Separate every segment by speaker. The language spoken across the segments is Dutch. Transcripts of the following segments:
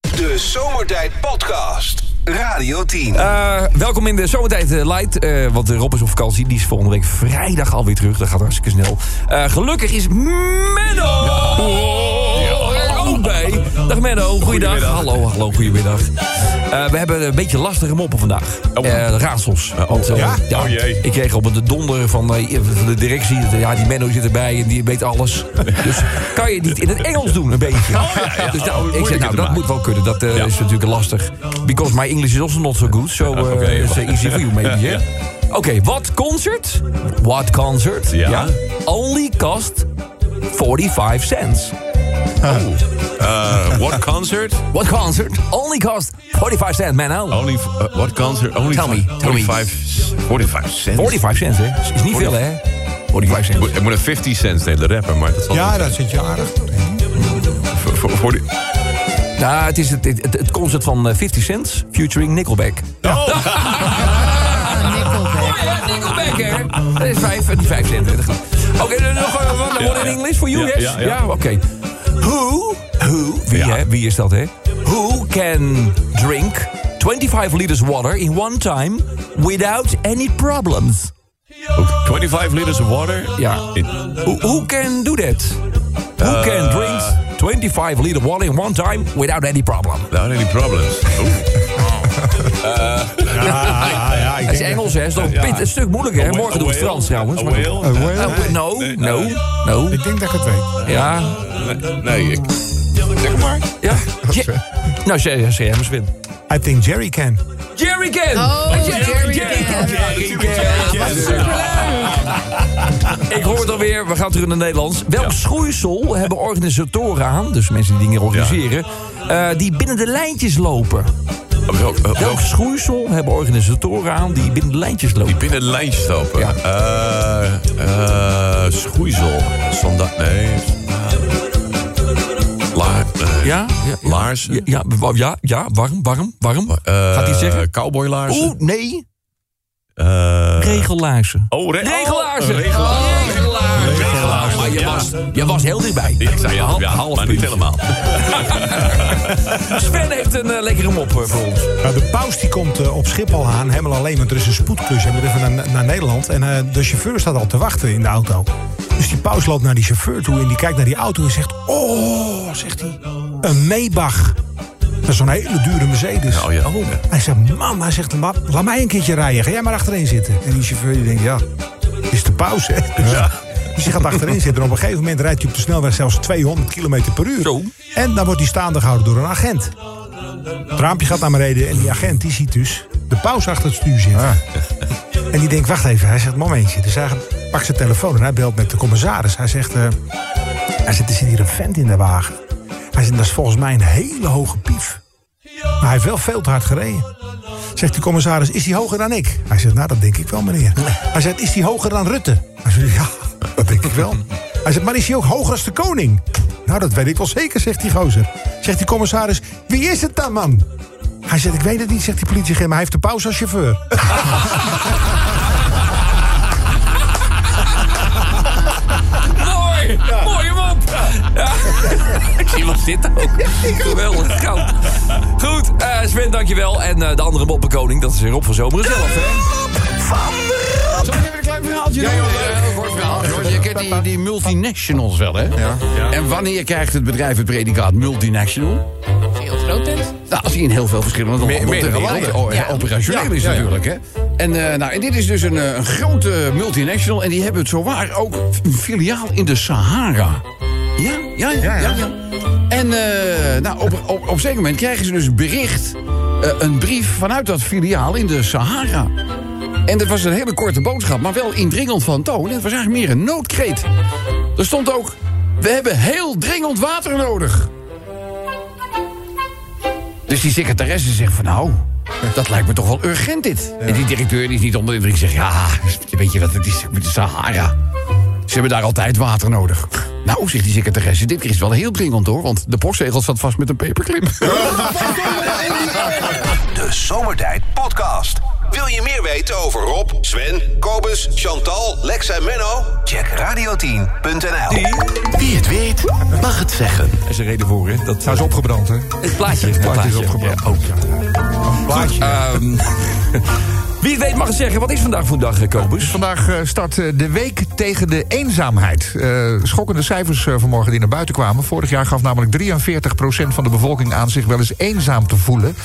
Speaker 1: De Zomertijd Podcast. Radio 10.
Speaker 2: Eh, welkom in de Zomertijd eh, Light. eh, want eh, Rob is op vakantie. Die is volgende week vrijdag alweer terug. Dat gaat hartstikke snel. Eh, gelukkig is Menno er ook bij. Dag Menno, goeiedag. Hallo, hallo, goedemiddag. Eh, we hebben een beetje lastige moppen vandaag. Eh, raadsels. Want, eh,
Speaker 3: Oh. ja? Oh jee.
Speaker 2: Ik kreeg op het donder van, eh, van de directie. dat, eh, Ja, die Menno zit erbij en die weet alles. Dus kan je het niet in het Engels doen, een beetje.
Speaker 3: Oh,
Speaker 2: Dus nou, ik zeg,
Speaker 3: moeilijker
Speaker 2: nou,
Speaker 3: te
Speaker 2: dat
Speaker 3: maken.
Speaker 2: moet wel kunnen. Dat eh, is natuurlijk lastig. Because my English is also not so good. So eh,
Speaker 3: oké.
Speaker 2: it's eh, easy for you, maybe. hè?
Speaker 3: Ja.
Speaker 2: Oké, what concert? What concert?
Speaker 3: Ja.
Speaker 2: Only cost 45 cents.
Speaker 3: Uh, what concert?
Speaker 2: What concert? Only cost 45 cent, man. nou.
Speaker 3: Only f- uh, what concert? Only
Speaker 2: Tell me,
Speaker 3: fi-
Speaker 2: tell me.
Speaker 3: 45, 45 cent.
Speaker 2: 45 cent, hè? Is- Is niet veel, hè? 45 cent.
Speaker 3: Ik moet een 50 cent de rapper, maar dat zal
Speaker 4: Ja, dat zit je aardig.
Speaker 3: voor, voor, voor die-
Speaker 2: Nou, het is het, het, het concert van eh, 50 cent featuring Nickelback.
Speaker 3: Ah,
Speaker 2: Oh, ja, Nickelback, hè? Dat is 5, die 5 cent. hè, dat gaat. Oké, dan nog eh, one, one in
Speaker 3: ja.
Speaker 2: English for you,
Speaker 3: Ja,
Speaker 2: yes?
Speaker 3: ja, ja.
Speaker 2: oké. Who, who, wie,
Speaker 3: Ja.
Speaker 2: hè? wie is dat, hè? Who can drink 25 liters water in one time without any problems?
Speaker 3: 25 oh, liters of water?
Speaker 2: Ja.
Speaker 3: In-
Speaker 2: Who, who can do that? Who can
Speaker 3: Eh.
Speaker 2: drink 25 liter water in one time without any problem?
Speaker 3: Without any problems.
Speaker 4: Ja, ja, ik
Speaker 2: Dat is
Speaker 4: denk-
Speaker 2: Engels, hè? Dat is toch pit- een stuk moeilijker, hè? Morgen doen we het Frans, trouwens.
Speaker 3: Oh,
Speaker 2: maar-
Speaker 4: Eh, whale?
Speaker 2: Eh, No,
Speaker 3: Nee,
Speaker 2: no,
Speaker 3: nee.
Speaker 2: no.
Speaker 4: Ik denk dat ik het weet.
Speaker 2: Ja,
Speaker 3: Nee, nee, ik... Zeg maar.
Speaker 2: Ja. Je- Nou, zeg, zeg jij maar, Swin.
Speaker 4: I think Jerry can.
Speaker 2: Jerry Ken!
Speaker 5: Oh, Jerry Ken.
Speaker 2: Ik hoor het alweer, we gaan terug naar Nederlands. Welk schoeisel hebben organisatoren aan, dus mensen die dingen organiseren, eh, die binnen de lijntjes lopen?
Speaker 3: Welk, eh,
Speaker 2: Welk
Speaker 3: welk-
Speaker 2: schoeisel hebben organisatoren aan die binnen de lijntjes
Speaker 3: die
Speaker 2: lopen?
Speaker 3: binnen de lijntjes stoppen.
Speaker 2: Ja.
Speaker 3: Eh, eh, schoeisel. Sanda... Nee. Laar... eh, nee.
Speaker 2: Ja? Ja,
Speaker 3: Laarzen.
Speaker 2: ja, ja, wa- ja, ja, warm, warm, warm.
Speaker 3: Eh,
Speaker 2: Gaat hij zeggen?
Speaker 3: Cowboylaarzen.
Speaker 2: Oeh, nee,
Speaker 3: Eh,
Speaker 2: regellaarzen.
Speaker 3: oh, re-
Speaker 2: Regelaarzen.
Speaker 3: Oh, regelaarzen.
Speaker 2: Regelaarzen.
Speaker 3: Regelaarzen,
Speaker 2: Maar je
Speaker 3: ja.
Speaker 2: Oh, was, je was heel dichtbij.
Speaker 3: Ik zei ja, ja, half maar niet helemaal.
Speaker 2: Sven heeft een eh, lekkere mop eh, voor ons.
Speaker 4: Nou, de paus die komt eh, op Schiphol aan, helemaal alleen, want er is een spoedklus. Hij moet even naar, naar Nederland. En eh, de chauffeur staat al te wachten in de auto. Dus die paus loopt naar die chauffeur toe en die kijkt naar die auto en zegt... Oh, zegt hij, een Maybach. Dat is zo'n hele dure Mercedes.
Speaker 3: Oh ja. Ja.
Speaker 4: Hij zegt, man, hij zegt, "La- laat mij een keertje rijden. Ga jij maar achterin zitten. En die chauffeur die denkt, ja, is de pauze. hè? Dus, dus die gaat achterin zitten. En op een gegeven moment rijdt hij op de snelweg zelfs 200 km per uur.
Speaker 2: Zo.
Speaker 4: En dan wordt hij staande gehouden door een agent. Het raampje gaat naar beneden en die agent die ziet dus de paus achter het stuur zitten. En die denkt, wacht even. Hij zegt, momentje. Dus hij pakt zijn telefoon en hij belt met de commissaris. Hij zegt, eh, hij zegt er zit hier een vent in de wagen. Hij zegt, dat is volgens mij een hele hoge pief. Maar hij heeft wel veel te hard gereden. Zegt de commissaris, is die hoger dan ik? Hij zegt, nou, dat denk ik wel, meneer. Hij zegt, is die hoger dan Rutte? Hij zegt, ja, dat denk ik wel. Hij zegt, maar is hij ook hoger als de koning? Nou, dat weet ik wel zeker, zegt die gozer. Zegt die commissaris, wie is het dan, man? Hij zegt, ik weet het niet, zegt die politieagent, maar hij heeft de pauze als chauffeur.
Speaker 2: Mooi! Mooie mop! Ja. Ik zie wat zitten ook. Geweldig goud. Goed, eh, Sven, dankjewel. En eh, de andere moppenkoning, dat is weer Rob van Zomeren zelf, hè?
Speaker 6: Ja, joh, eh, kort verhaal. George, Je kent die, die multinationals wel, hè? En wanneer krijgt het bedrijf het predicaat multinational?
Speaker 5: Heel groot bent.
Speaker 6: Nou, als hij in heel veel verschillende landen op de
Speaker 3: meerdere
Speaker 6: wereld
Speaker 3: landen.
Speaker 6: o- operationeel is natuurlijk, hè? En, eh, nou, en dit is dus een, eh, een grote multinational... en die hebben het zowaar ook een filiaal in de Sahara. Ja, ja, ja, ja. ja. En eh, nou, op, op, op een zeker moment krijgen ze dus een bericht... eh, een brief vanuit dat filiaal in de Sahara. En dat was een hele korte boodschap, maar wel indringend van toon. En het was eigenlijk meer een noodkreet. Er stond ook... We hebben heel dringend water nodig. Dus die secretaresse zegt van nou, dat lijkt me toch wel urgent dit. En die directeur die is niet onder de indruk zegt ja, weet je wat het is met de Sahara. Ze hebben daar altijd water nodig. Nou, zegt die secretaresse, dit keer is wel heel dringend hoor... want de postzegel zat vast met een paperclip.
Speaker 1: De Zomertijd Podcast. Wil je meer weten over Rob, Sven, Kobus, Chantal, Lex en Menno? Check radio10.nl.
Speaker 7: Wie het weet, mag het zeggen.
Speaker 2: Er is een reden voor, hè? Dat
Speaker 4: Hij is opgebrand, hè?
Speaker 2: Het plaatje. Het
Speaker 4: plaatje is opgebrand.
Speaker 2: Ja, ook, ja. Ehm, wie het weet mag het zeggen, wat is vandaag voor een dag, eh, Kobus?
Speaker 8: Vandaag eh, start eh, de week tegen de eenzaamheid. Eh, schokkende cijfers eh, vanmorgen die naar buiten kwamen. Vorig jaar gaf namelijk 43% van de bevolking aan zich wel eens eenzaam te voelen.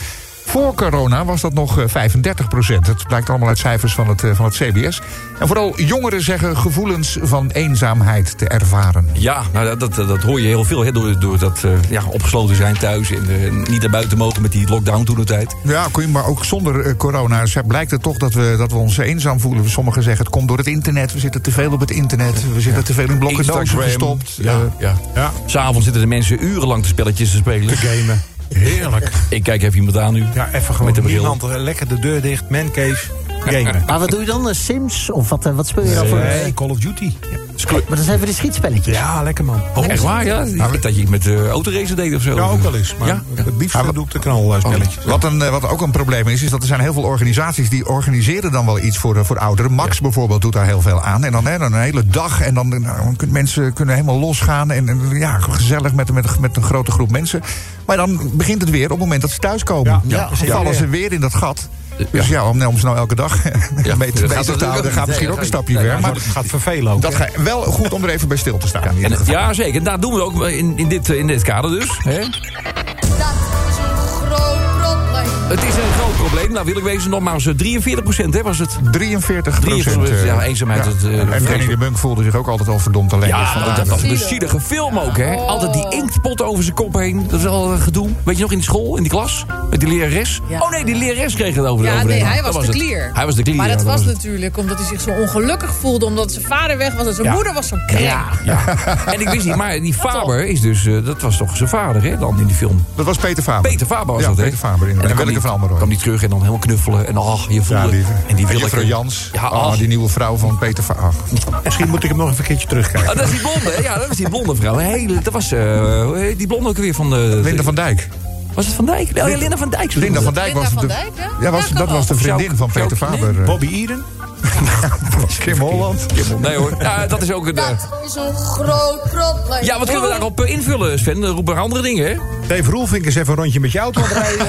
Speaker 8: Voor corona was dat nog eh, 35%. Dat blijkt allemaal uit cijfers van het, eh, van het CBS. En vooral jongeren zeggen gevoelens van eenzaamheid te ervaren.
Speaker 2: Ja, nou, dat, dat, dat hoor je heel veel, hè? Door, door dat eh, ja, opgesloten zijn thuis en eh, niet naar buiten mogen met die lockdown toen de tijd.
Speaker 8: Ja, kun je, maar ook zonder eh, corona ze- blijkt het toch dat we, dat we ons eenzaam voelen. Sommigen zeggen het komt door het internet. We zitten te veel op het internet. We zitten te veel in blokken dozen
Speaker 2: Instagram.
Speaker 8: gestopt.
Speaker 2: Ja,
Speaker 8: Eh,
Speaker 2: ja.
Speaker 4: Ja.
Speaker 2: S'avonds zitten de mensen urenlang te spelletjes te spelen.
Speaker 4: Gamen. Heerlijk.
Speaker 2: Ik kijk even iemand aan nu.
Speaker 4: Ja, even gewoon
Speaker 2: Met een bril.
Speaker 4: iemand eh, lekker de deur dicht, mancave, gamen.
Speaker 7: Maar wat doe je dan? Eh, Sims? Of wat, eh, wat speel je dan voor?
Speaker 4: Nee, Call of Duty.
Speaker 7: Maar dat zijn even de schietspelletjes.
Speaker 4: Ja, lekker man.
Speaker 5: Oh.
Speaker 2: Echt waar, ja? Ik
Speaker 5: Nou,
Speaker 2: dacht dat je het met eh autoracen deed of zo.
Speaker 4: Ja, ook wel eens. Maar
Speaker 2: Ja?
Speaker 4: het liefst doe ik de knalspelletjes.
Speaker 8: Wat, een, eh, wat ook een probleem is, is dat er zijn heel veel organisaties... die organiseren dan wel iets voor, eh, voor ouderen. Max bijvoorbeeld doet daar heel veel aan. En dan, hè, dan een hele dag en dan eh, nou, dan kunnen mensen kunnen helemaal losgaan... en, en ja, gezellig met, met, met een grote groep mensen. Maar dan begint het weer op het moment dat ze thuiskomen.
Speaker 4: Ja,
Speaker 8: Dan
Speaker 4: precies.
Speaker 8: vallen ze weer in dat gat. Dus ja, om, om ze nou elke dag
Speaker 2: dat
Speaker 8: mee te
Speaker 2: gaat
Speaker 8: bezig te
Speaker 2: natuurlijk
Speaker 8: houden...
Speaker 2: ook niet.
Speaker 8: gaat
Speaker 2: Nee,
Speaker 8: misschien ook een
Speaker 2: dat gaat
Speaker 8: stapje
Speaker 2: niet. Nee,
Speaker 8: ver. Maar
Speaker 4: Maar dat gaat vervelen ook.
Speaker 8: dat
Speaker 4: hè?
Speaker 8: ga, wel goed om er even bij stil te staan. in ieder
Speaker 2: En,
Speaker 8: geval.
Speaker 2: ja, zeker. En daar doen we ook in, in, dit, eh, in dit kader dus. Hè?
Speaker 9: Dat is een groot probleem.
Speaker 2: Het is een groot probleem. Nou wil ik wezen, nogmaals, eh, 43 procent hè, was het.
Speaker 8: 43
Speaker 2: 43%,
Speaker 8: procent. eh,
Speaker 2: ja, eenzaamheid, dat, eh,
Speaker 8: en Danny de
Speaker 2: vreselijk.
Speaker 8: Bunk voelde zich ook altijd al verdomd alleen. Dus
Speaker 2: Ja,
Speaker 8: vandaar
Speaker 2: dat was
Speaker 8: dat-
Speaker 2: een zielige film ook,
Speaker 5: Oh.
Speaker 2: hè. Altijd die inktpot over zijn kop heen. Dat is al een gedoe. Weet je nog, in de school, in die klas? Met die lerares?
Speaker 5: Ja.
Speaker 2: Oh nee, die lerares kreeg het over de
Speaker 5: Ja, nee,
Speaker 2: overheen.
Speaker 5: hij
Speaker 2: Dat
Speaker 5: was, de
Speaker 2: het.
Speaker 5: klier.
Speaker 2: Hij was de klier.
Speaker 5: Maar
Speaker 2: ja,
Speaker 5: dat was
Speaker 2: het.
Speaker 5: natuurlijk omdat hij zich zo ongelukkig voelde... omdat zijn vader weg was en zijn moeder was zo'n krek.
Speaker 2: En ik wist niet, maar die Faber is dus... eh, dat was toch zijn vader, hè, dan in die film.
Speaker 8: Dat was Peter Faber.
Speaker 2: Peter Faber was
Speaker 8: ja,
Speaker 2: dat, hè?
Speaker 8: Peter
Speaker 2: En
Speaker 8: Faber, inderdaad. En
Speaker 2: dan
Speaker 8: Willeke van
Speaker 2: kwam
Speaker 8: Almeroy.
Speaker 2: die terug en dan helemaal knuffelen. En ach, je voelde...
Speaker 4: Ja, die-
Speaker 2: en die
Speaker 8: En
Speaker 2: Willeke-
Speaker 8: juffrouw Jans.
Speaker 2: Ja,
Speaker 8: Ah,
Speaker 2: ach.
Speaker 8: die nieuwe vrouw van Peter Faber. Ach.
Speaker 4: Misschien moet ik hem nog even een keertje
Speaker 2: Ah,
Speaker 4: terugkijken.
Speaker 2: dat is die blonde, hè? Ja, dat was die blonde vrouw. Een Hele, dat was eh, hoe heet die blonde ook weer van... de.
Speaker 8: Linda van Dijk.
Speaker 2: Was het Van Dijk? Oh ja, Linda van Dijk. zo
Speaker 8: Linda
Speaker 2: noemde
Speaker 8: van
Speaker 2: ze.
Speaker 8: Dijk
Speaker 5: Linda
Speaker 8: was
Speaker 5: van
Speaker 8: de,
Speaker 5: Dijk, hè?
Speaker 8: ja, was,
Speaker 5: Ja, kan
Speaker 8: dat
Speaker 5: wel.
Speaker 8: was de vriendin
Speaker 2: Zou-
Speaker 8: van Peter
Speaker 2: zou- nee.
Speaker 8: Faber. eh,
Speaker 4: Bobby Eden?
Speaker 8: Kim Holland.
Speaker 2: Nee hoor, ja, dat is ook een... eh,
Speaker 9: Dat is een groot probleem.
Speaker 2: Ja, wat kunnen we daarop eh, invullen, Sven? Roep maar andere dingen, hè?
Speaker 4: Dave Roelvink is even een rondje met je auto aan het rijden.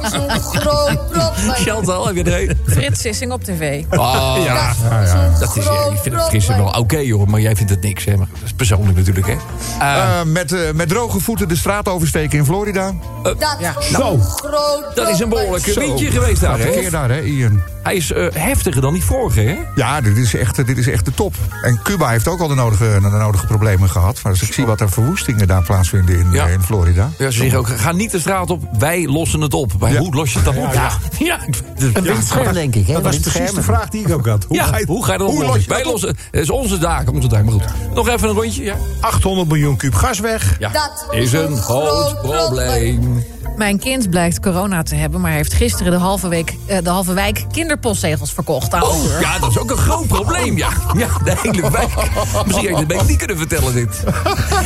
Speaker 9: Dat is een groot probleem.
Speaker 2: Chantal, heb je er een?
Speaker 5: Frits Sissing op tv.
Speaker 2: Ah, ja.
Speaker 9: Dat is een
Speaker 2: Dat is, eh, ik vind het
Speaker 9: groot
Speaker 2: frissen wel
Speaker 9: probleem.
Speaker 2: oké, hoor. Maar jij vindt het niks, hè? Maar dat is persoonlijk natuurlijk, hè? Ah.
Speaker 8: Eh, met, eh, met droge voeten de straat oversteken in Florida.
Speaker 9: Dat is
Speaker 4: Zo.
Speaker 9: een groot
Speaker 2: Dat is een behoorlijk
Speaker 8: Zo.
Speaker 2: windje geweest daar, hè?
Speaker 8: Verkeer daar, hè, Ian?
Speaker 2: Hij is eh, heftiger dan die vorige, hè?
Speaker 8: Ja, dit is, echt, eh, dit is echt de top. En Cuba heeft ook al de nodige, de nodige problemen gehad. Maar als ik zie wat er verwoestingen daar plaatsvinden in,
Speaker 2: Ja.
Speaker 8: eh, in Florida.
Speaker 2: Ja, ze zeggen ook, ga niet de straat op, wij lossen het op. Maar
Speaker 8: Ja.
Speaker 2: hoe los je het dan op? Ja, ja.
Speaker 7: Een
Speaker 2: ja.
Speaker 7: windscherm, denk ik. Hè?
Speaker 4: Dat was precies de vraag die ik ook had. Hoe
Speaker 2: Ja,
Speaker 4: ga je-
Speaker 2: hoe ga je dat
Speaker 4: hoe
Speaker 2: oplossen?
Speaker 4: los je
Speaker 2: Wij
Speaker 4: dat op?
Speaker 2: lossen. Het is onze taak, onze taak. Maar goed, nog even een rondje. Ja.
Speaker 4: 800 miljoen kub gas weg.
Speaker 2: Ja.
Speaker 9: Dat is een groot probleem.
Speaker 5: Mijn kind blijkt corona te hebben, maar heeft gisteren de halve, week, eh, de halve wijk kinderpostzegels verkocht. Aan de
Speaker 2: Oh,
Speaker 5: deur.
Speaker 2: ja, dat is ook een groot probleem, ja. Ja, de hele wijk. Misschien had je het beter niet kunnen vertellen, dit.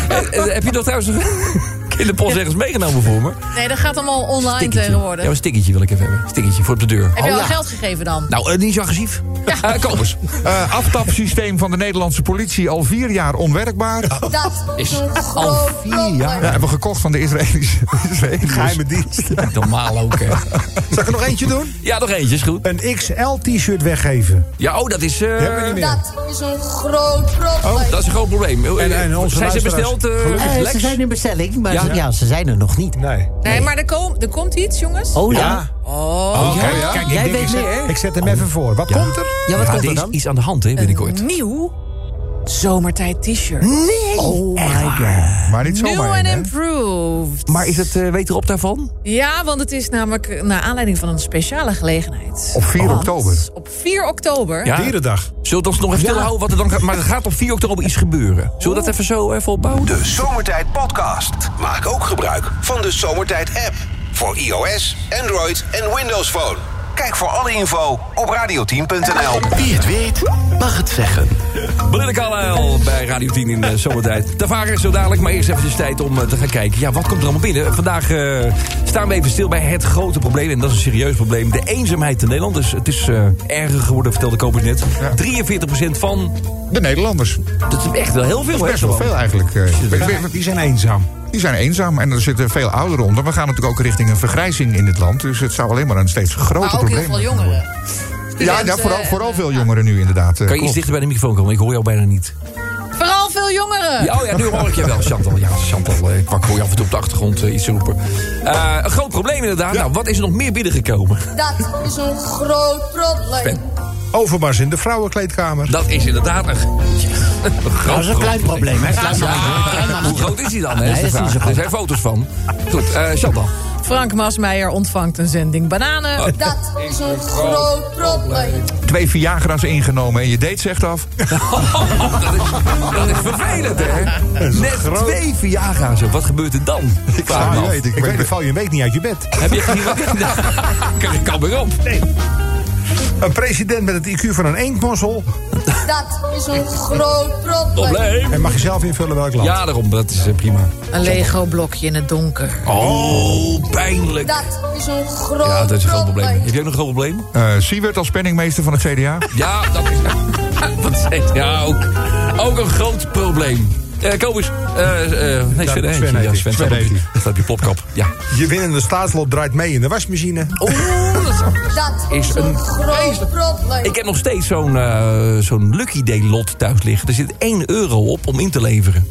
Speaker 2: Eh, eh, heb je nog trouwens een kinderpost ergens meegenomen voor me?
Speaker 5: Nee, dat gaat allemaal online
Speaker 2: Ja,
Speaker 5: tegenwoordig.
Speaker 2: maar een stickertje wil ik even hebben. Stickertje voor op de deur.
Speaker 5: Heb je
Speaker 2: Oh,
Speaker 5: al
Speaker 2: ja.
Speaker 5: geld gegeven dan?
Speaker 2: Nou, eh, niet zo agressief. Eh, kom eens.
Speaker 8: Eh, aftapsysteem van de Nederlandse politie al vier jaar onwerkbaar.
Speaker 9: Dat is
Speaker 7: Oh,
Speaker 9: een
Speaker 2: al
Speaker 9: groot
Speaker 2: vier jaar.
Speaker 9: probleem.
Speaker 8: Ja, hebben we gekocht van de Israëlische. Israëliërs.
Speaker 4: Geheime dienst.
Speaker 2: Niet Normaal ook, hè.
Speaker 4: Zal ik er nog eentje doen?
Speaker 2: Ja, nog eentje, is goed.
Speaker 4: Een XL-t-shirt weggeven.
Speaker 2: Ja, oh, dat is... eh,
Speaker 4: Hebben we niet meer.
Speaker 9: Dat is een groot probleem.
Speaker 2: dat is een groot probleem. Eh,
Speaker 4: En- en onze
Speaker 2: Zijn ze
Speaker 4: luisteraars-
Speaker 2: besteld, eh,
Speaker 7: Eh,
Speaker 2: Lex?
Speaker 7: ze zijn in bestelling, maar
Speaker 2: Ja.
Speaker 7: ze, ja, ze zijn er nog niet.
Speaker 4: Nee.
Speaker 5: Nee, maar er, kom- er komt iets, jongens.
Speaker 7: Oh ja?
Speaker 4: Ja.
Speaker 7: Oh,
Speaker 4: Kijk, kijk, ik
Speaker 7: Jij
Speaker 4: denk,
Speaker 7: weet
Speaker 4: ik zet-
Speaker 7: meer, hè?
Speaker 4: Ik zet hem even voor. Wat komt er?
Speaker 7: Ja, wat
Speaker 2: Ja,
Speaker 7: komt
Speaker 2: er
Speaker 7: er
Speaker 2: is
Speaker 7: dan?
Speaker 2: iets aan de hand,
Speaker 7: Eh,
Speaker 2: hè, binnenkort.
Speaker 7: mm.
Speaker 5: Een nieuw zomertijd t-shirt.
Speaker 7: Oh my god.
Speaker 8: Maar niet
Speaker 5: New
Speaker 8: zomaar.
Speaker 5: and
Speaker 8: één, hè?
Speaker 5: improved.
Speaker 2: Maar is het eh, weterop daarvan?
Speaker 5: Ja, want het is namelijk eh, naar aanleiding van een speciale gelegenheid.
Speaker 8: Op 4
Speaker 5: Want
Speaker 8: oktober.
Speaker 5: Op 4 oktober.
Speaker 2: Ja.
Speaker 4: Dierendag.
Speaker 2: Zullen we ons nog even stilhouden wat er dan gaat... Maar er gaat op 4 oktober iets gebeuren. Zullen we
Speaker 7: Oh.
Speaker 2: dat even zo eh, even opbouwen?
Speaker 1: De Zomertijd Podcast. Maak ook gebruik van de Zomertijd app. Voor iOS, Android en Windows Phone. Kijk voor alle info op radio10.nl.
Speaker 10: Wie het weet, mag het zeggen.
Speaker 2: Belinda Carlisle bij Radio 10 in de zomertijd. Tavares zo dadelijk, maar eerst even tijd om eh, te gaan kijken. Ja, wat komt er allemaal binnen? Vandaag eh, staan we even stil bij het grote probleem. En dat is een serieus probleem. De eenzaamheid in Nederland. Dus het is eh, erger geworden, vertelde Kopers net. 43% van...
Speaker 8: De Nederlanders.
Speaker 2: Dat is echt wel heel veel.
Speaker 8: Dat
Speaker 2: hè,
Speaker 8: is best wel
Speaker 2: gewoon.
Speaker 8: veel eigenlijk. eh. Ik ben-
Speaker 4: Die zijn eenzaam.
Speaker 8: Die zijn eenzaam en er zitten veel ouderen onder. We gaan natuurlijk ook richting een vergrijzing in dit land. Dus het zou alleen maar een steeds groter
Speaker 5: Maar ook
Speaker 8: probleem
Speaker 5: heel veel
Speaker 8: worden.
Speaker 5: jongeren.
Speaker 8: Ja, ja
Speaker 5: Studenten
Speaker 8: vooral,
Speaker 5: en,
Speaker 8: vooral
Speaker 5: eh,
Speaker 8: veel jongeren nu inderdaad. eh,
Speaker 2: Kan je iets
Speaker 8: klopt.
Speaker 2: dichter bij de microfoon komen? Ik hoor jou bijna niet.
Speaker 5: Vooral veel jongeren.
Speaker 2: Ja, oh ja, nu hoor ik je wel, Chantal. Ja, Chantal, eh, ik pak- hoor je af en toe op de achtergrond eh, iets roepen. Eh, een groot probleem inderdaad. Nou, wat is er nog meer binnengekomen?
Speaker 9: Dat is een groot probleem.
Speaker 4: Overmars in de vrouwenkleedkamer.
Speaker 2: Dat is inderdaad een, een groot
Speaker 7: Dat is een klein probleem, hè? Klein
Speaker 2: Ja, hoe groot is hij dan? Hè,
Speaker 7: Nee,
Speaker 2: is de
Speaker 7: dat is niet
Speaker 2: vraag.
Speaker 7: zo groot.
Speaker 2: Er zijn foto's van. Goed, eh Chantal.
Speaker 5: Frank Masmeijer ontvangt een zending bananen.
Speaker 9: Dat is een groot probleem.
Speaker 8: Twee Viagra's ingenomen en je date zegt af.
Speaker 2: Dat is, dat is vervelend, hè?
Speaker 4: is
Speaker 2: Net
Speaker 4: groot.
Speaker 2: twee Viagra's. op. Wat gebeurt er dan? Ik
Speaker 4: Ja, ik weet, ik weet, dan val je een week niet uit je bed.
Speaker 2: Heb je geen wat? Ik kan weer op.
Speaker 4: Een president met het IQ van een eendmozzel.
Speaker 9: Dat is een groot probleem.
Speaker 2: Probleem.
Speaker 4: En mag je zelf invullen welk land.
Speaker 2: Ja, daarom. Dat is eh, prima.
Speaker 5: Een Lego-blokje in het donker.
Speaker 2: Oh, pijnlijk.
Speaker 9: Dat is een groot
Speaker 2: Ja, dat is een groot probleem.
Speaker 9: probleem.
Speaker 2: Heb je ook nog een groot probleem?
Speaker 8: Eh Siewert als penningmeester van het CDA.
Speaker 2: Ja, dat is... Wat zegt ja, ook, ook een groot probleem. Eh Kobus, eh, eh, nee, Sven,
Speaker 4: Sven
Speaker 2: Sven,
Speaker 4: heet
Speaker 2: ja,
Speaker 4: hij.
Speaker 2: Sven,
Speaker 4: Sven heet hij.
Speaker 2: dat heb je plopkap. Ja.
Speaker 4: Je winnende staatslot draait mee in de wasmachine.
Speaker 2: Oeh, dat is-
Speaker 9: Dat
Speaker 2: Is
Speaker 9: is
Speaker 2: een
Speaker 9: een groot probleem.
Speaker 2: Ik heb nog steeds zo'n eh, zo'n Lucky Day lot thuis liggen. Er zit 1 euro op om in te leveren.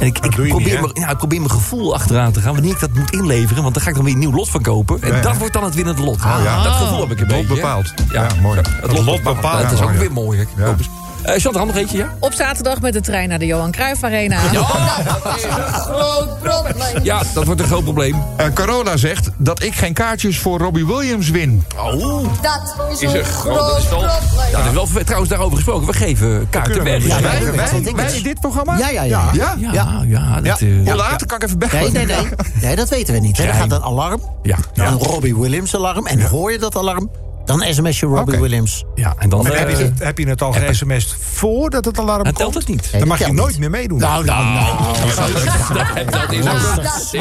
Speaker 2: En ik, ik,
Speaker 4: doe je
Speaker 2: probeer
Speaker 4: niet, hè?
Speaker 2: mijn- ja, ik probeer mijn gevoel achteraan te gaan wanneer ik dat moet inleveren. Want dan ga ik dan weer een nieuw lot van kopen. En dat wordt dan het winnende lot.
Speaker 8: Ah, ja.
Speaker 2: Dat gevoel heb ik een
Speaker 8: Lot
Speaker 2: beetje, hè?
Speaker 8: bepaald. Ja, mooi.
Speaker 2: zo, Het lot, bepaalt. Dat is
Speaker 8: Ja,
Speaker 2: ook
Speaker 8: mooi,
Speaker 2: weer mooi. hè,
Speaker 8: Ja.
Speaker 2: Kopers. Eh Chantal, nog eentje, ja?
Speaker 5: Op zaterdag met de trein naar de Johan Cruijff Arena.
Speaker 9: Dat is een groot probleem.
Speaker 2: Ja, dat wordt een groot probleem.
Speaker 8: Eh, Corona zegt dat ik geen kaartjes voor Robbie Williams win.
Speaker 2: Oh,
Speaker 9: Dat is
Speaker 2: Is
Speaker 9: een
Speaker 2: een groot- dat
Speaker 9: groot
Speaker 2: is wel- dat
Speaker 9: probleem.
Speaker 2: is wel ver- trouwens daarover gesproken. We geven kaarten weg.
Speaker 8: Ja,
Speaker 2: Ja,
Speaker 8: wij,
Speaker 7: dat
Speaker 8: wij-
Speaker 7: denk ik
Speaker 8: wij
Speaker 7: dus.
Speaker 8: dit programma?
Speaker 7: Ja, ja, ja.
Speaker 8: Ja?
Speaker 2: ja, dat, eh,
Speaker 8: Hoe laat? Kan ik even bellen?
Speaker 7: Nee, nee, nee. Nee, dat weten we niet. hè. Dan gaat een alarm.
Speaker 2: Ja.
Speaker 7: Een Robbie Williams alarm. En hoor je dat alarm, dan sms je Robbie
Speaker 8: Oké.
Speaker 7: Williams.
Speaker 2: ja, en dan...
Speaker 4: Maar heb,
Speaker 2: eh,
Speaker 4: je het, heb je het al ge-sms'd voordat het alarm
Speaker 2: dan
Speaker 4: komt?
Speaker 2: telt het niet.
Speaker 7: Nee,
Speaker 4: Dan
Speaker 7: dat
Speaker 4: mag je
Speaker 7: telt
Speaker 4: nooit
Speaker 7: niet.
Speaker 4: meer meedoen.
Speaker 7: Nou, nou, nou.
Speaker 2: Dat is ook
Speaker 9: Dat
Speaker 2: is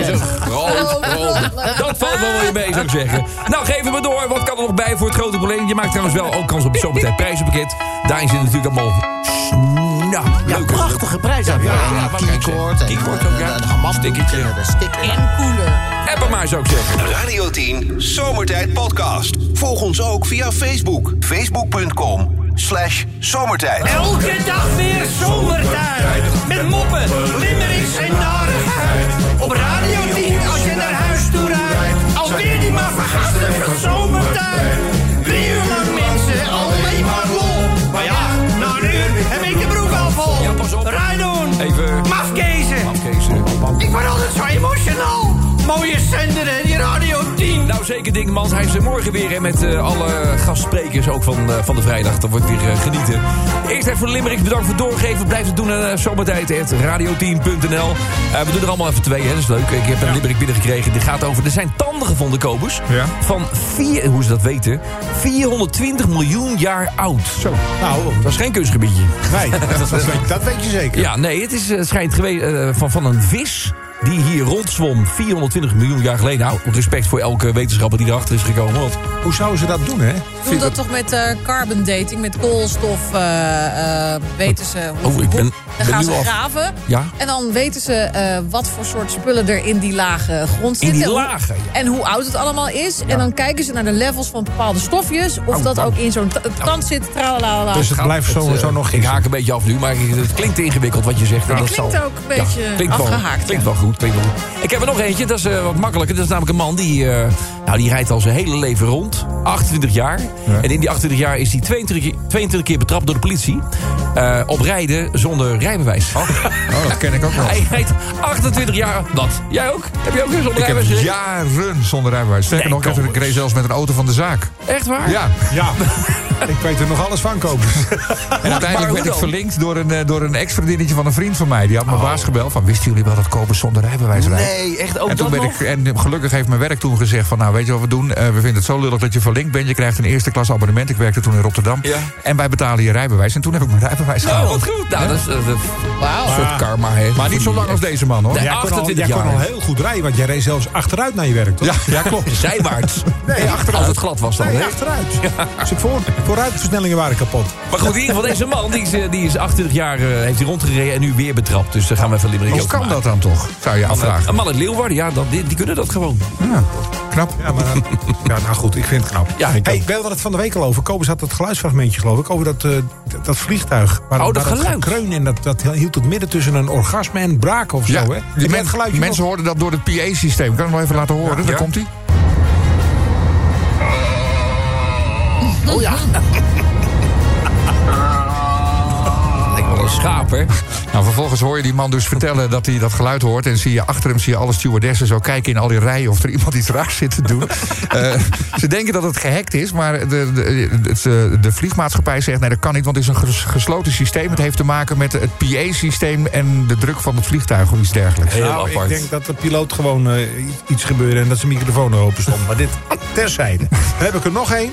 Speaker 2: een groot probleem. Dat valt wel weer mee, zou ik zeggen. Nou, geef hem maar door. Wat kan er nog bij voor het grote probleem? Je maakt trouwens wel ook kans op het zomertijd prijzenpakket. Daarin zit natuurlijk allemaal... Nou,
Speaker 7: Ja,
Speaker 2: leuke...
Speaker 7: prachtige prijs. Ja,
Speaker 2: ja,
Speaker 7: ja,
Speaker 2: wat kan ik
Speaker 7: keycord en
Speaker 2: Keycord ook, ja.
Speaker 7: eh, een hamastikkertje.
Speaker 2: Stickertje.
Speaker 7: Een sticker.
Speaker 2: Appen maar, zou ik zeggen.
Speaker 1: Radio 10 Zomertijd Podcast. Volg ons ook via Facebook. Facebook.com slash zomertijd.
Speaker 11: Elke dag weer zomertijd. Met moppen, limmerings en narigheid. Op Radio 10 als je naar huis toe rijdt. Alweer die maar vergasten van zomertijd. Drie uur lang mensen, alleen maar lol. Maar ja, na een uur heb ik de broek al vol.
Speaker 2: Ja, pas op.
Speaker 11: Rijdoen.
Speaker 2: Even-
Speaker 11: Mafkezen. Ik word altijd zo emotional. Mooie zender hè, die Radio 10.
Speaker 2: Nou, zeker Dingmans. Hij is er morgen weer hè, met eh, alle gastsprekers ook van, eh, van de vrijdag. Dat wordt weer eh, genieten. Eerst even Limerick. Bedankt voor het doorgeven. Blijf het doen aan uh, zomertijd.radio10.nl. Eh, we doen er allemaal even twee, hè. dat is leuk. Ik heb een Limerick binnengekregen. Die gaat over... Er zijn tanden gevonden, Kobus.
Speaker 8: Ja.
Speaker 2: Van, vier, hoe ze dat weten, 420 miljoen jaar oud. Zo.
Speaker 4: Nou,
Speaker 2: Dat is geen kunstgebiedje.
Speaker 4: nee, dat, weet, dat weet je zeker.
Speaker 2: Ja, nee, het is, eh, schijnt geweest van, van een vis die hier rondzwom 420 miljoen jaar geleden. Nou, respect voor elke wetenschapper die erachter is gekomen. Want
Speaker 4: Hoe zouden ze dat doen, hè?
Speaker 5: Doe dat toch met eh, carbon dating, met koolstof. eh, eh, weten ze hoe,
Speaker 2: Oh, ik ben-
Speaker 5: hoe-
Speaker 2: ben
Speaker 5: dan gaan
Speaker 2: nu
Speaker 5: ze
Speaker 2: al-
Speaker 5: graven.
Speaker 2: Ja.
Speaker 5: En dan weten ze eh, wat voor soort spullen er in die lage grond
Speaker 2: In
Speaker 5: zitten.
Speaker 2: die
Speaker 5: Hoe-
Speaker 2: lagen, ja.
Speaker 5: En hoe oud het allemaal is. En dan kijken ze naar de levels van bepaalde stofjes. Of
Speaker 2: Oh,
Speaker 5: dat
Speaker 2: oh.
Speaker 5: ook in zo'n ta- tand zit. Tralalala.
Speaker 4: Dus het
Speaker 2: Gaat
Speaker 4: blijft zo,
Speaker 2: eh,
Speaker 4: zo nog
Speaker 2: Ik
Speaker 4: gissen.
Speaker 2: haak een beetje af nu, maar ik- het klinkt ingewikkeld wat je zegt. Het
Speaker 5: Het klinkt ook een beetje afgehaakt,
Speaker 2: Wel,
Speaker 5: ja.
Speaker 2: klinkt wel goed, klinkt wel goed. Ik heb er nog eentje, dat is eh, wat makkelijker. Dat is namelijk een man die, eh, nou, die rijdt al zijn hele leven rond. 28 jaar. En in die 28 jaar is hij 22, keer- 22 keer betrapt door de politie. eh, op rijden zonder rijbewijs.
Speaker 8: Oh, dat ken ik ook wel.
Speaker 2: Hij rijdt 28 jaar. Wat? Jij ook? Heb je ook weer zonder
Speaker 8: Ik heb
Speaker 2: rijbewijs? gereden?
Speaker 8: jaren zonder rijbewijs. Sterker
Speaker 2: Nee,
Speaker 8: nog, ik heb- ik
Speaker 2: Kobus.
Speaker 8: reed zelfs met een auto van de zaak.
Speaker 2: Echt waar?
Speaker 8: Ja,
Speaker 4: Ja, ik weet er nog alles van, Kobus.
Speaker 8: en uiteindelijk
Speaker 2: hoe
Speaker 8: werd ik
Speaker 2: dan?
Speaker 8: verlinkt door een, eh, door een ex-vriendinnetje van een vriend van mij. Die had
Speaker 4: Oh.
Speaker 8: mijn baas gebeld van, wisten jullie wel dat Kobus zonder rijbewijs rijdt?
Speaker 2: Nee, echt ook
Speaker 8: en, toen
Speaker 2: Oh, dat
Speaker 8: ben
Speaker 2: nog?
Speaker 8: ik, en gelukkig heeft mijn werk toen gezegd van... nou, weet je wat we doen? Eh, we vinden het zo lullig dat je verlinkt bent. Je krijgt een eerste klas abonnement. Ik werkte toen in Rotterdam.
Speaker 2: Ja.
Speaker 8: En wij betalen je rijbewijs. En toen heb ik mijn rijbewijs
Speaker 2: Nou,
Speaker 8: gehaald.
Speaker 2: wat goed. Nou,
Speaker 8: Ja.
Speaker 2: dat is... eh, dat-
Speaker 8: Een soort karma, hè?
Speaker 2: Maar
Speaker 8: Voor
Speaker 2: niet zo
Speaker 8: die-
Speaker 2: lang als
Speaker 8: deze man, hoor.
Speaker 2: Nee,
Speaker 4: jij kon, al,
Speaker 2: 28
Speaker 4: jij kon
Speaker 2: jaar.
Speaker 4: al heel goed rijden, want jij reed zelfs achteruit naar je werk, toch?
Speaker 8: Ja, ja klopt.
Speaker 2: Zijwaarts.
Speaker 4: Nee, achteruit.
Speaker 2: Als het glad was dan,
Speaker 4: Nee,
Speaker 2: hè?
Speaker 4: achteruit. Dus ik voor, vooruitversnellingen waren kapot.
Speaker 2: Maar goed, in ieder geval deze man, die is, eh, die is 28 jaar, eh, heeft hij rondgereden en nu weer betrapt. Dus daar gaan we even Limerick
Speaker 8: Hoe
Speaker 2: over
Speaker 8: kan
Speaker 2: maken.
Speaker 8: dat dan toch? Zou je
Speaker 2: Een man-
Speaker 8: afvragen.
Speaker 2: Een man uit Leeuwarden, ja, dat, die, die kunnen dat gewoon.
Speaker 8: Ja, knap.
Speaker 4: Ja, maar, ja, nou goed, ik vind het knap.
Speaker 2: Ja, ik
Speaker 4: hey,
Speaker 2: ook.
Speaker 4: we hadden het van de week al over. Kobus had dat geluidsfragmentje, geloof ik, over dat, eh, d- dat vliegtuig. Waar,
Speaker 2: Oh, dat
Speaker 4: waar
Speaker 2: geluid.
Speaker 4: gekreun en dat, dat hield het midden tussen een orgasme en braak of zo,
Speaker 8: Ja,
Speaker 4: hè?
Speaker 8: die
Speaker 4: Heb jij
Speaker 8: men-
Speaker 4: het geluidje
Speaker 8: mensen hoorden dat door het PA-systeem. Kan ik hem wel even laten horen? Daar
Speaker 4: ja.
Speaker 8: komt hij.
Speaker 2: Oh ja. Lijkt wel een schaap, hè?
Speaker 8: Nou, vervolgens hoor je die man dus vertellen dat hij dat geluid hoort. En zie je achter hem zie je alle stewardessen zo kijken in al die rijen of er iemand iets raars zit te doen. Eh, ze denken dat het gehackt is, maar de, de, het, eh, de vliegmaatschappij zegt nee, dat kan niet, want het is een ges- gesloten systeem. Het heeft te maken met het PA-systeem en de druk van het vliegtuig of iets dergelijks.
Speaker 2: Heel
Speaker 4: Nou,
Speaker 2: apart.
Speaker 4: Ik denk dat de piloot gewoon eh, i- iets gebeurde en dat zijn microfoon er open stond. Maar dit terzijde. Dan heb ik er nog één.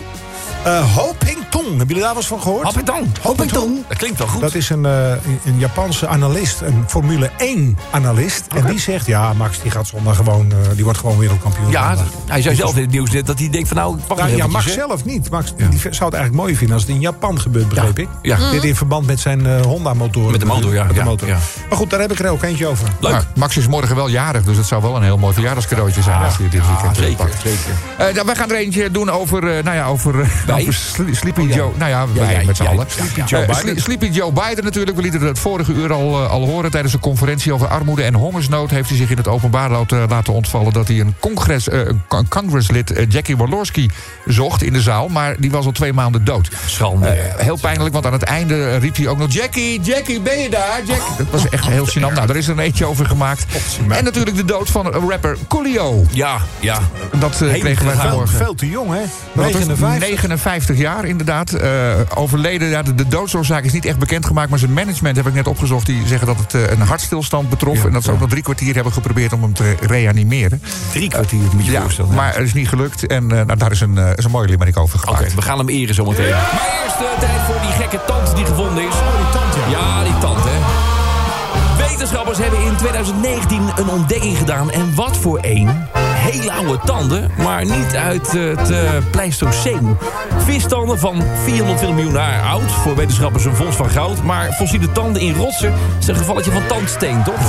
Speaker 4: Eh Ho Ping Tong. Hebben jullie daar wel eens van gehoord?
Speaker 2: Hop en tong. Hop en tong. Dat klinkt wel goed.
Speaker 4: Dat is een, eh, een- een Japanse analist, een Formule 1-analist. En die zegt, ja, Max die gaat zondag gewoon, eh, die wordt gewoon wereldkampioen.
Speaker 2: ja,
Speaker 4: Zondag.
Speaker 2: hij zei zelf in het nieuws net dat hij denkt van nou, ik pak
Speaker 4: Nou,
Speaker 2: nog
Speaker 4: ja,
Speaker 2: eventjes,
Speaker 4: Max
Speaker 2: hè.
Speaker 4: zelf niet. Max die v- zou het eigenlijk mooi vinden als het in Japan gebeurt, begreep ik.
Speaker 2: ja. Mhm.
Speaker 4: Dit in verband met zijn Honda-motor.
Speaker 2: Met de motor, ja,
Speaker 4: Met de
Speaker 2: ja,
Speaker 4: motor.
Speaker 2: ja.
Speaker 4: Maar goed, daar heb ik er ook eentje over.
Speaker 2: Leuk.
Speaker 8: Nou, Max is morgen wel jarig, dus het zou wel een heel mooi verjaardagscadeautje zijn als hij dit weekend eh,
Speaker 2: Zeker,
Speaker 8: pakt.
Speaker 2: zeker.
Speaker 8: Eh, nou, wij gaan er eentje doen over, eh, nou ja, over, eh,
Speaker 2: Wij? Oh,
Speaker 8: over Sle- Sleepy Joe. Nou ja, wij
Speaker 2: jij,
Speaker 8: met z'n
Speaker 2: jij.
Speaker 8: allen.
Speaker 2: Sleepy
Speaker 8: Eh,
Speaker 2: Joe
Speaker 8: Sle-
Speaker 2: Biden.
Speaker 8: Sleepy Joe Biden natuurlijk. We lieten het vorige uur al, eh, al horen. Tijdens een conferentie over armoede en hongersnood... heeft hij zich in het openbaar laten, eh, laten ontvallen... dat hij een, congres, eh, een con- congreslid, eh, Jackie Walorski, zocht in de zaal. Maar die was al twee maanden dood.
Speaker 2: Schande.
Speaker 8: Eh, heel pijnlijk, want aan het einde eh, riep hij ook nog... Jackie, Jackie, ben je daar? Jack? Dat was echt heel gênant. Nou, daar is er een eentje over gemaakt. En natuurlijk de dood van rapper Coolio.
Speaker 2: ja, ja.
Speaker 8: Dat eh,
Speaker 2: Hele
Speaker 8: kregen wij
Speaker 2: gegaan.
Speaker 4: Veel,
Speaker 8: vanmorgen.
Speaker 4: veel te jong, hè?
Speaker 8: Wat is het?
Speaker 4: 59.
Speaker 8: 59 jaar, inderdaad. Eh, overleden. Ja, de, de doodsoorzaak is niet echt bekendgemaakt. Maar zijn management heb ik net opgezocht. Die zeggen dat het eh, een hartstilstand betrof. en dat ze ook nog drie kwartier hebben geprobeerd om hem te reanimeren.
Speaker 2: Drie kwartier moet je
Speaker 8: Ja,
Speaker 2: voorstellen. hè.
Speaker 8: maar het is niet gelukt. En eh, nou, daar is een, eh, is een mooie limerick over
Speaker 2: Oké,
Speaker 8: gemaakt.
Speaker 2: we gaan hem eren zometeen. Maar eerst eh, tijd voor die gekke tand die gevonden is. Oh, die tand, ja. Ja, die tand, hè. Wetenschappers hebben in 2019 een ontdekking gedaan. En wat voor een? Hele oude tanden, maar niet uit eh, het eh, Pleistoceen. Vistanden van 420 miljoen jaar oud. Voor wetenschappers een vondst van goud. Maar fossiele tanden in rotsen is een gevalletje van tandsteen, toch?
Speaker 4: En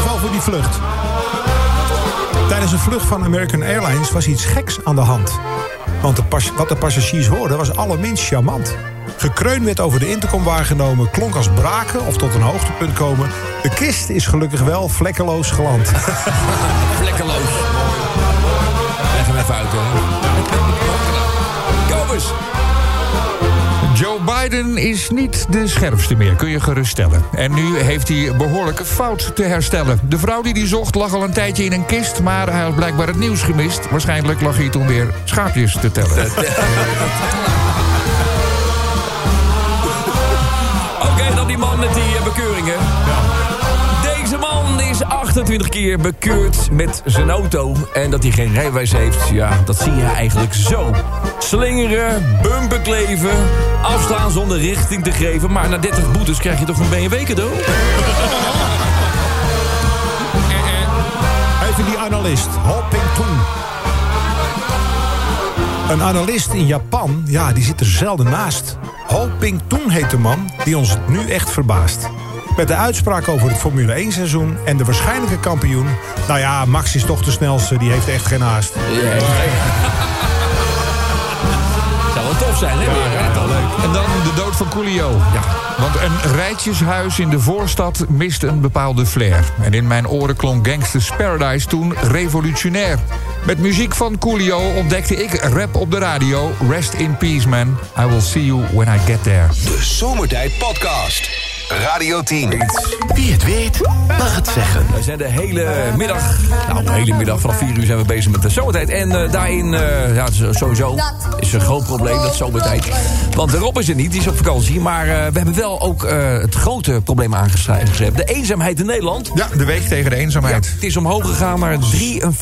Speaker 4: vooral voor die vlucht. Tijdens een vlucht van American Airlines was iets geks aan de hand. Want de pas- wat de passagiers hoorden was allerminst charmant. Gekreun werd over de intercom waargenomen, klonk als braken of tot een hoogtepunt komen. De kist is gelukkig wel vlekkeloos geland.
Speaker 2: Vlekkeloos. Leg hem even uit, hè. Kom eens.
Speaker 8: Joe Biden is niet de scherpste meer, kun je geruststellen. En nu heeft hij behoorlijke fout te herstellen. De vrouw die hij zocht lag al een tijdje in een kist... maar hij had blijkbaar het nieuws gemist. Waarschijnlijk lag hij toen weer schaapjes te tellen.
Speaker 2: Oké, dan die man met die eh, bekeuringen. Deze man is 28 keer bekeurd met zijn auto. En dat hij geen rijbewijs heeft, ja, dat zie je eigenlijk zo. Slingeren, bumper kleven, afstaan zonder richting te geven. Maar na 30 boetes krijg je toch een BMW cadeau?
Speaker 4: Even die analist, Hopping Toon. Een analist in Japan, ja, die zit er zelden naast. Ho Ping Toon heet de man die ons nu echt verbaast. Met de uitspraak over het Formule 1-seizoen en de waarschijnlijke kampioen... nou ja, Max is toch de snelste, die heeft echt geen haast.
Speaker 2: Zou wel tof zijn, hè? weer, hè?
Speaker 8: En dan de dood van Coolio. Ja. Want een rijtjeshuis in de voorstad mist een bepaalde flair. En in mijn oren klonk Gangsters Paradise toen revolutionair. Met muziek van Coolio ontdekte ik rap op de radio. Rest in peace, man. I will see you when I get there.
Speaker 1: De Zomertijd Podcast. Radio 10.
Speaker 10: Wie het weet, mag het zeggen.
Speaker 2: We zijn de hele middag, nou de hele middag, vanaf 4 uur zijn we bezig met de zomertijd. En eh, daarin, eh, ja, het is, eh, sowieso is een groot probleem, dat zomertijd. Want Rob is er niet, die is op vakantie. Maar eh, we hebben wel ook eh, het grote probleem aangeschreven. De eenzaamheid in Nederland.
Speaker 8: Ja, de week tegen de eenzaamheid.
Speaker 2: Het is omhoog gegaan, maar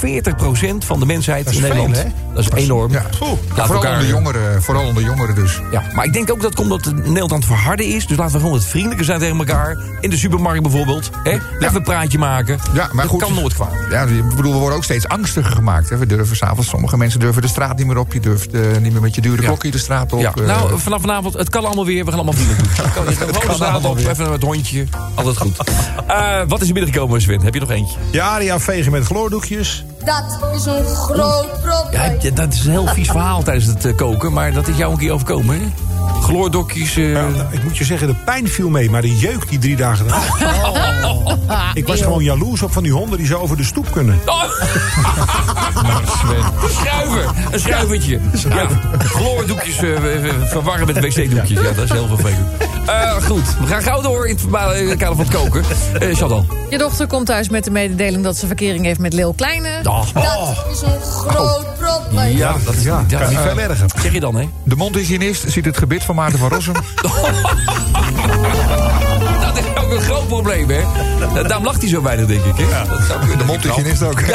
Speaker 2: 43% van de mensheid
Speaker 8: Dat is
Speaker 2: in Nederland.
Speaker 8: veel, hè?
Speaker 2: dat is enorm.
Speaker 8: Ja.
Speaker 2: Laten we
Speaker 8: vooral,
Speaker 2: elkaar-
Speaker 8: onder jongeren, vooral onder jongeren dus.
Speaker 2: ja, maar ik denk ook dat komt omdat Nederland aan het verharden is. Dus laten we gewoon wat vriendelijker zijn tegen elkaar. In de supermarkt bijvoorbeeld. Hè? Even een praatje maken.
Speaker 8: Ja, maar
Speaker 2: dat
Speaker 8: goed,
Speaker 2: kan nooit kwaad.
Speaker 8: Ja, ik bedoel, we worden ook steeds angstiger gemaakt. Hè. We durven s'avonds, sommige mensen durven de straat niet meer op. Je durft eh, niet meer met je dure klokje de straat op.
Speaker 2: Ja.
Speaker 8: eh.
Speaker 2: Nou, vanaf vanavond, het kan allemaal weer. We gaan allemaal vriendelijk doen. Kan- Gewoon de straat op, even met het hondje. Altijd goed. Eh, wat is er binnengekomen, Sven? Heb je nog eentje?
Speaker 4: Jaria vegen met gloordoekjes.
Speaker 9: Dat is een groot probleem.
Speaker 2: Ja, ja, dat is een heel vies verhaal tijdens het eh, koken. Maar dat is jou een keer overkomen, hè? Gloordokjes. eh,
Speaker 4: Nou, ik moet je zeggen, de pijn viel mee, maar de jeuk die drie dagen daarna. Ik was gewoon jaloers op van die honden die zo over de stoep kunnen.
Speaker 2: Oh. Een schuiver, een schuivertje. Ja, gloordoekjes eh, eh, verwarren met wc-doekjes. Ja, dat is heel vervelend. Eh, goed, we gaan gauw door in het, verba- in het kader van het koken. Eh Chantal.
Speaker 5: Je dochter komt thuis met de mededeling dat ze verkering heeft met Leeuw Kleine.
Speaker 2: Oh.
Speaker 9: Dat is een groot probleem.
Speaker 2: Ja, Eh, dat is
Speaker 4: Ja,
Speaker 2: dat
Speaker 4: kan
Speaker 2: is-
Speaker 4: niet veel erger.
Speaker 2: Zeg je dan, hè?
Speaker 8: De mondhygiënist ziet het gebit van Maarten van Rossum.
Speaker 2: Dat is ook een groot probleem, hè? Eh, Daarom lacht hij zo weinig, denk ik, hè? Dat zou kunnen.
Speaker 8: de mondhygiënist ook.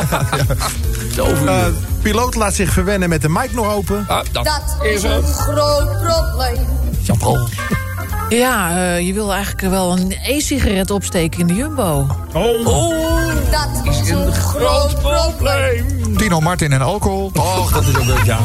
Speaker 2: De overuren.
Speaker 4: Eh, piloot laat zich verwennen met de mic nog open.
Speaker 2: Ah, dat,
Speaker 9: Dat is een groot probleem.
Speaker 2: Chantal.
Speaker 5: Ja, eh, je wil eigenlijk wel een e-sigaret opsteken in de Jumbo.
Speaker 9: Dat is een groot probleem.
Speaker 8: Tino Martin en alcohol.
Speaker 2: Och, dat is ook leuk, ja.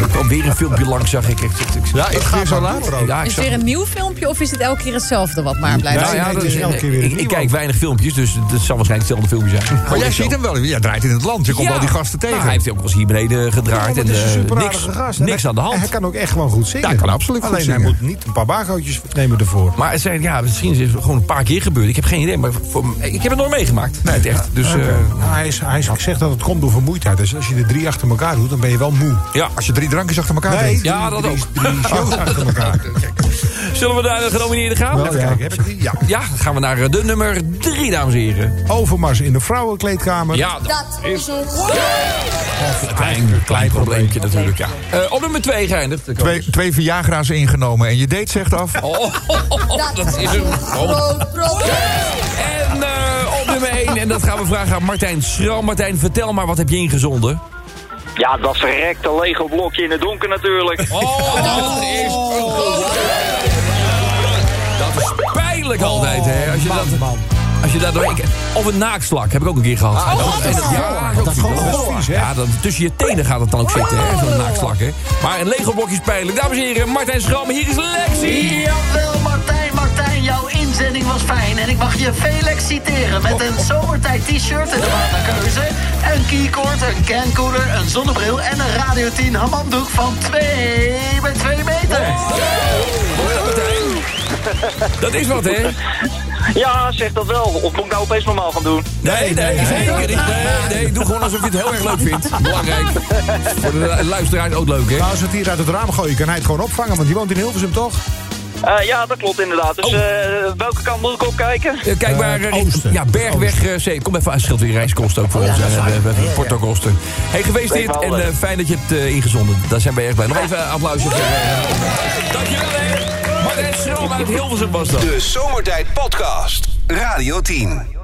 Speaker 2: Er kwam weer een filmpje langs, zag ik. Ik- ik- ik-
Speaker 8: Ja, ik ga zo laat.
Speaker 2: Ja, ik zag-
Speaker 5: Is het weer een nieuw filmpje of is het elke keer hetzelfde wat maar blijft?
Speaker 2: Nou ja,
Speaker 4: het
Speaker 2: dat
Speaker 4: is
Speaker 2: is-
Speaker 4: elke keer weer
Speaker 2: ik, ik
Speaker 4: opnieuw.
Speaker 2: kijk weinig filmpjes, dus dat zal waarschijnlijk hetzelfde filmpje zijn. Oh,
Speaker 8: Maar jij ziet hem wel. Jij draait in het land. Je komt
Speaker 2: Ja.
Speaker 8: wel die gasten tegen.
Speaker 2: Nou, hij heeft ook wel eens hier beneden gedraaid.
Speaker 4: Ja,
Speaker 2: en
Speaker 4: want het is een
Speaker 2: eh,
Speaker 4: super
Speaker 2: niks,
Speaker 4: aardige gast. En
Speaker 2: niks
Speaker 4: hij-
Speaker 2: aan de
Speaker 4: en Hij
Speaker 2: hand.
Speaker 4: kan ook echt gewoon goed zingen.
Speaker 8: Ja, hij kan absoluut goed
Speaker 4: Alleen hij
Speaker 8: zingen.
Speaker 4: moet niet een paar bagootjes nemen ervoor.
Speaker 2: Maar het zijn, ja, misschien is het gewoon een paar keer gebeurd. Ik heb geen idee, maar voor, ik heb het nooit meegemaakt. Nee, echt. Dus eh,
Speaker 4: Nou, hij, is, hij is, ik zeg dat het komt door vermoeidheid. Dus als je er drie achter elkaar doet, dan ben je wel moe.
Speaker 2: ja.
Speaker 8: Als je drie drankjes achter elkaar
Speaker 4: Nee,
Speaker 8: drinkt.
Speaker 4: drie-
Speaker 2: Ja, dat
Speaker 4: drie-
Speaker 2: ook.
Speaker 4: Drie shows achter elkaar.
Speaker 2: Zullen we naar de genomineerden gaan?
Speaker 4: Even kijken, heb ik die? Ja.
Speaker 2: Ja, dan gaan we naar eh, de nummer drie, dames en heren.
Speaker 4: Overmars in de vrouwenkleedkamer.
Speaker 2: Ja, dat
Speaker 9: Dat is een groot
Speaker 2: is een klein, klein probleempje natuurlijk, ja. Eh, op nummer twee geëindigd. de
Speaker 8: Twee,
Speaker 2: coach.
Speaker 8: twee Viagra's ingenomen en je date zegt af.
Speaker 2: Oh, dat is een groot
Speaker 9: groot probleem.
Speaker 2: En eh, op nummer 1, en dat gaan we vragen aan Martijn Schram. Martijn, vertel maar, wat heb je ingezonden?
Speaker 12: Ja, dat verrekte Lego blokje in het donker natuurlijk.
Speaker 2: Oh, dat is... Dat is pijnlijk altijd, hè. Als je dat... Als je daar doorheen kijkt. Of een naakslak, heb ik ook een keer gehad. Oh, en dat, ja, dat is
Speaker 4: vies, hè?
Speaker 2: Ja, dan, tussen je tenen gaat het dan ook zitten, hè, zo'n naakslak, hè. Maar een Lego blokje is pijnlijk. Dames en heren, Martijn Schram, hier is Lexi.
Speaker 10: Jawel, Martijn, Martijn, jouw inzending was fijn. En ik mag je Felix citeren met een zomertijd t-shirt en de maand keuze. Een keycord, een cancorder, een zonnebril en een Radio 10 hamamdoek van 2 bij 2 meter.
Speaker 2: Hoor je dat, Martijn? Dat is wat, hè?
Speaker 12: Ja, zeg dat wel. Of moet ik nou opeens normaal gaan doen?
Speaker 2: Nee, nee, zeker niet. Nee, nee, doe gewoon alsof je het heel erg leuk vindt. Belangrijk. Voor de luisteraars ook leuk, hè?
Speaker 4: Nou, als we het hier uit het raam gooien, kan hij het gewoon opvangen. Want die woont in Hilversum, toch?
Speaker 12: Eh, ja, dat klopt inderdaad. Dus
Speaker 2: Oh.
Speaker 12: eh, welke kant moet ik opkijken?
Speaker 2: Eh, Kijk maar,
Speaker 4: Eh,
Speaker 2: eh,
Speaker 4: Oosten.
Speaker 2: ja, Bergweg eh C. Kom even aan, scheelt weer reiskosten ook voor ons. en eh, we- we- Portokosten. Hey, geweest dit en eh, fijn dat je hebt eh, ingezonden. Daar zijn we erg blij. Nog even een applausje. voor, eh, Dankjewel, hè. Martijn Schroom uit Hilversum was dat.
Speaker 1: De Zomertijd Podcast. Radio 10.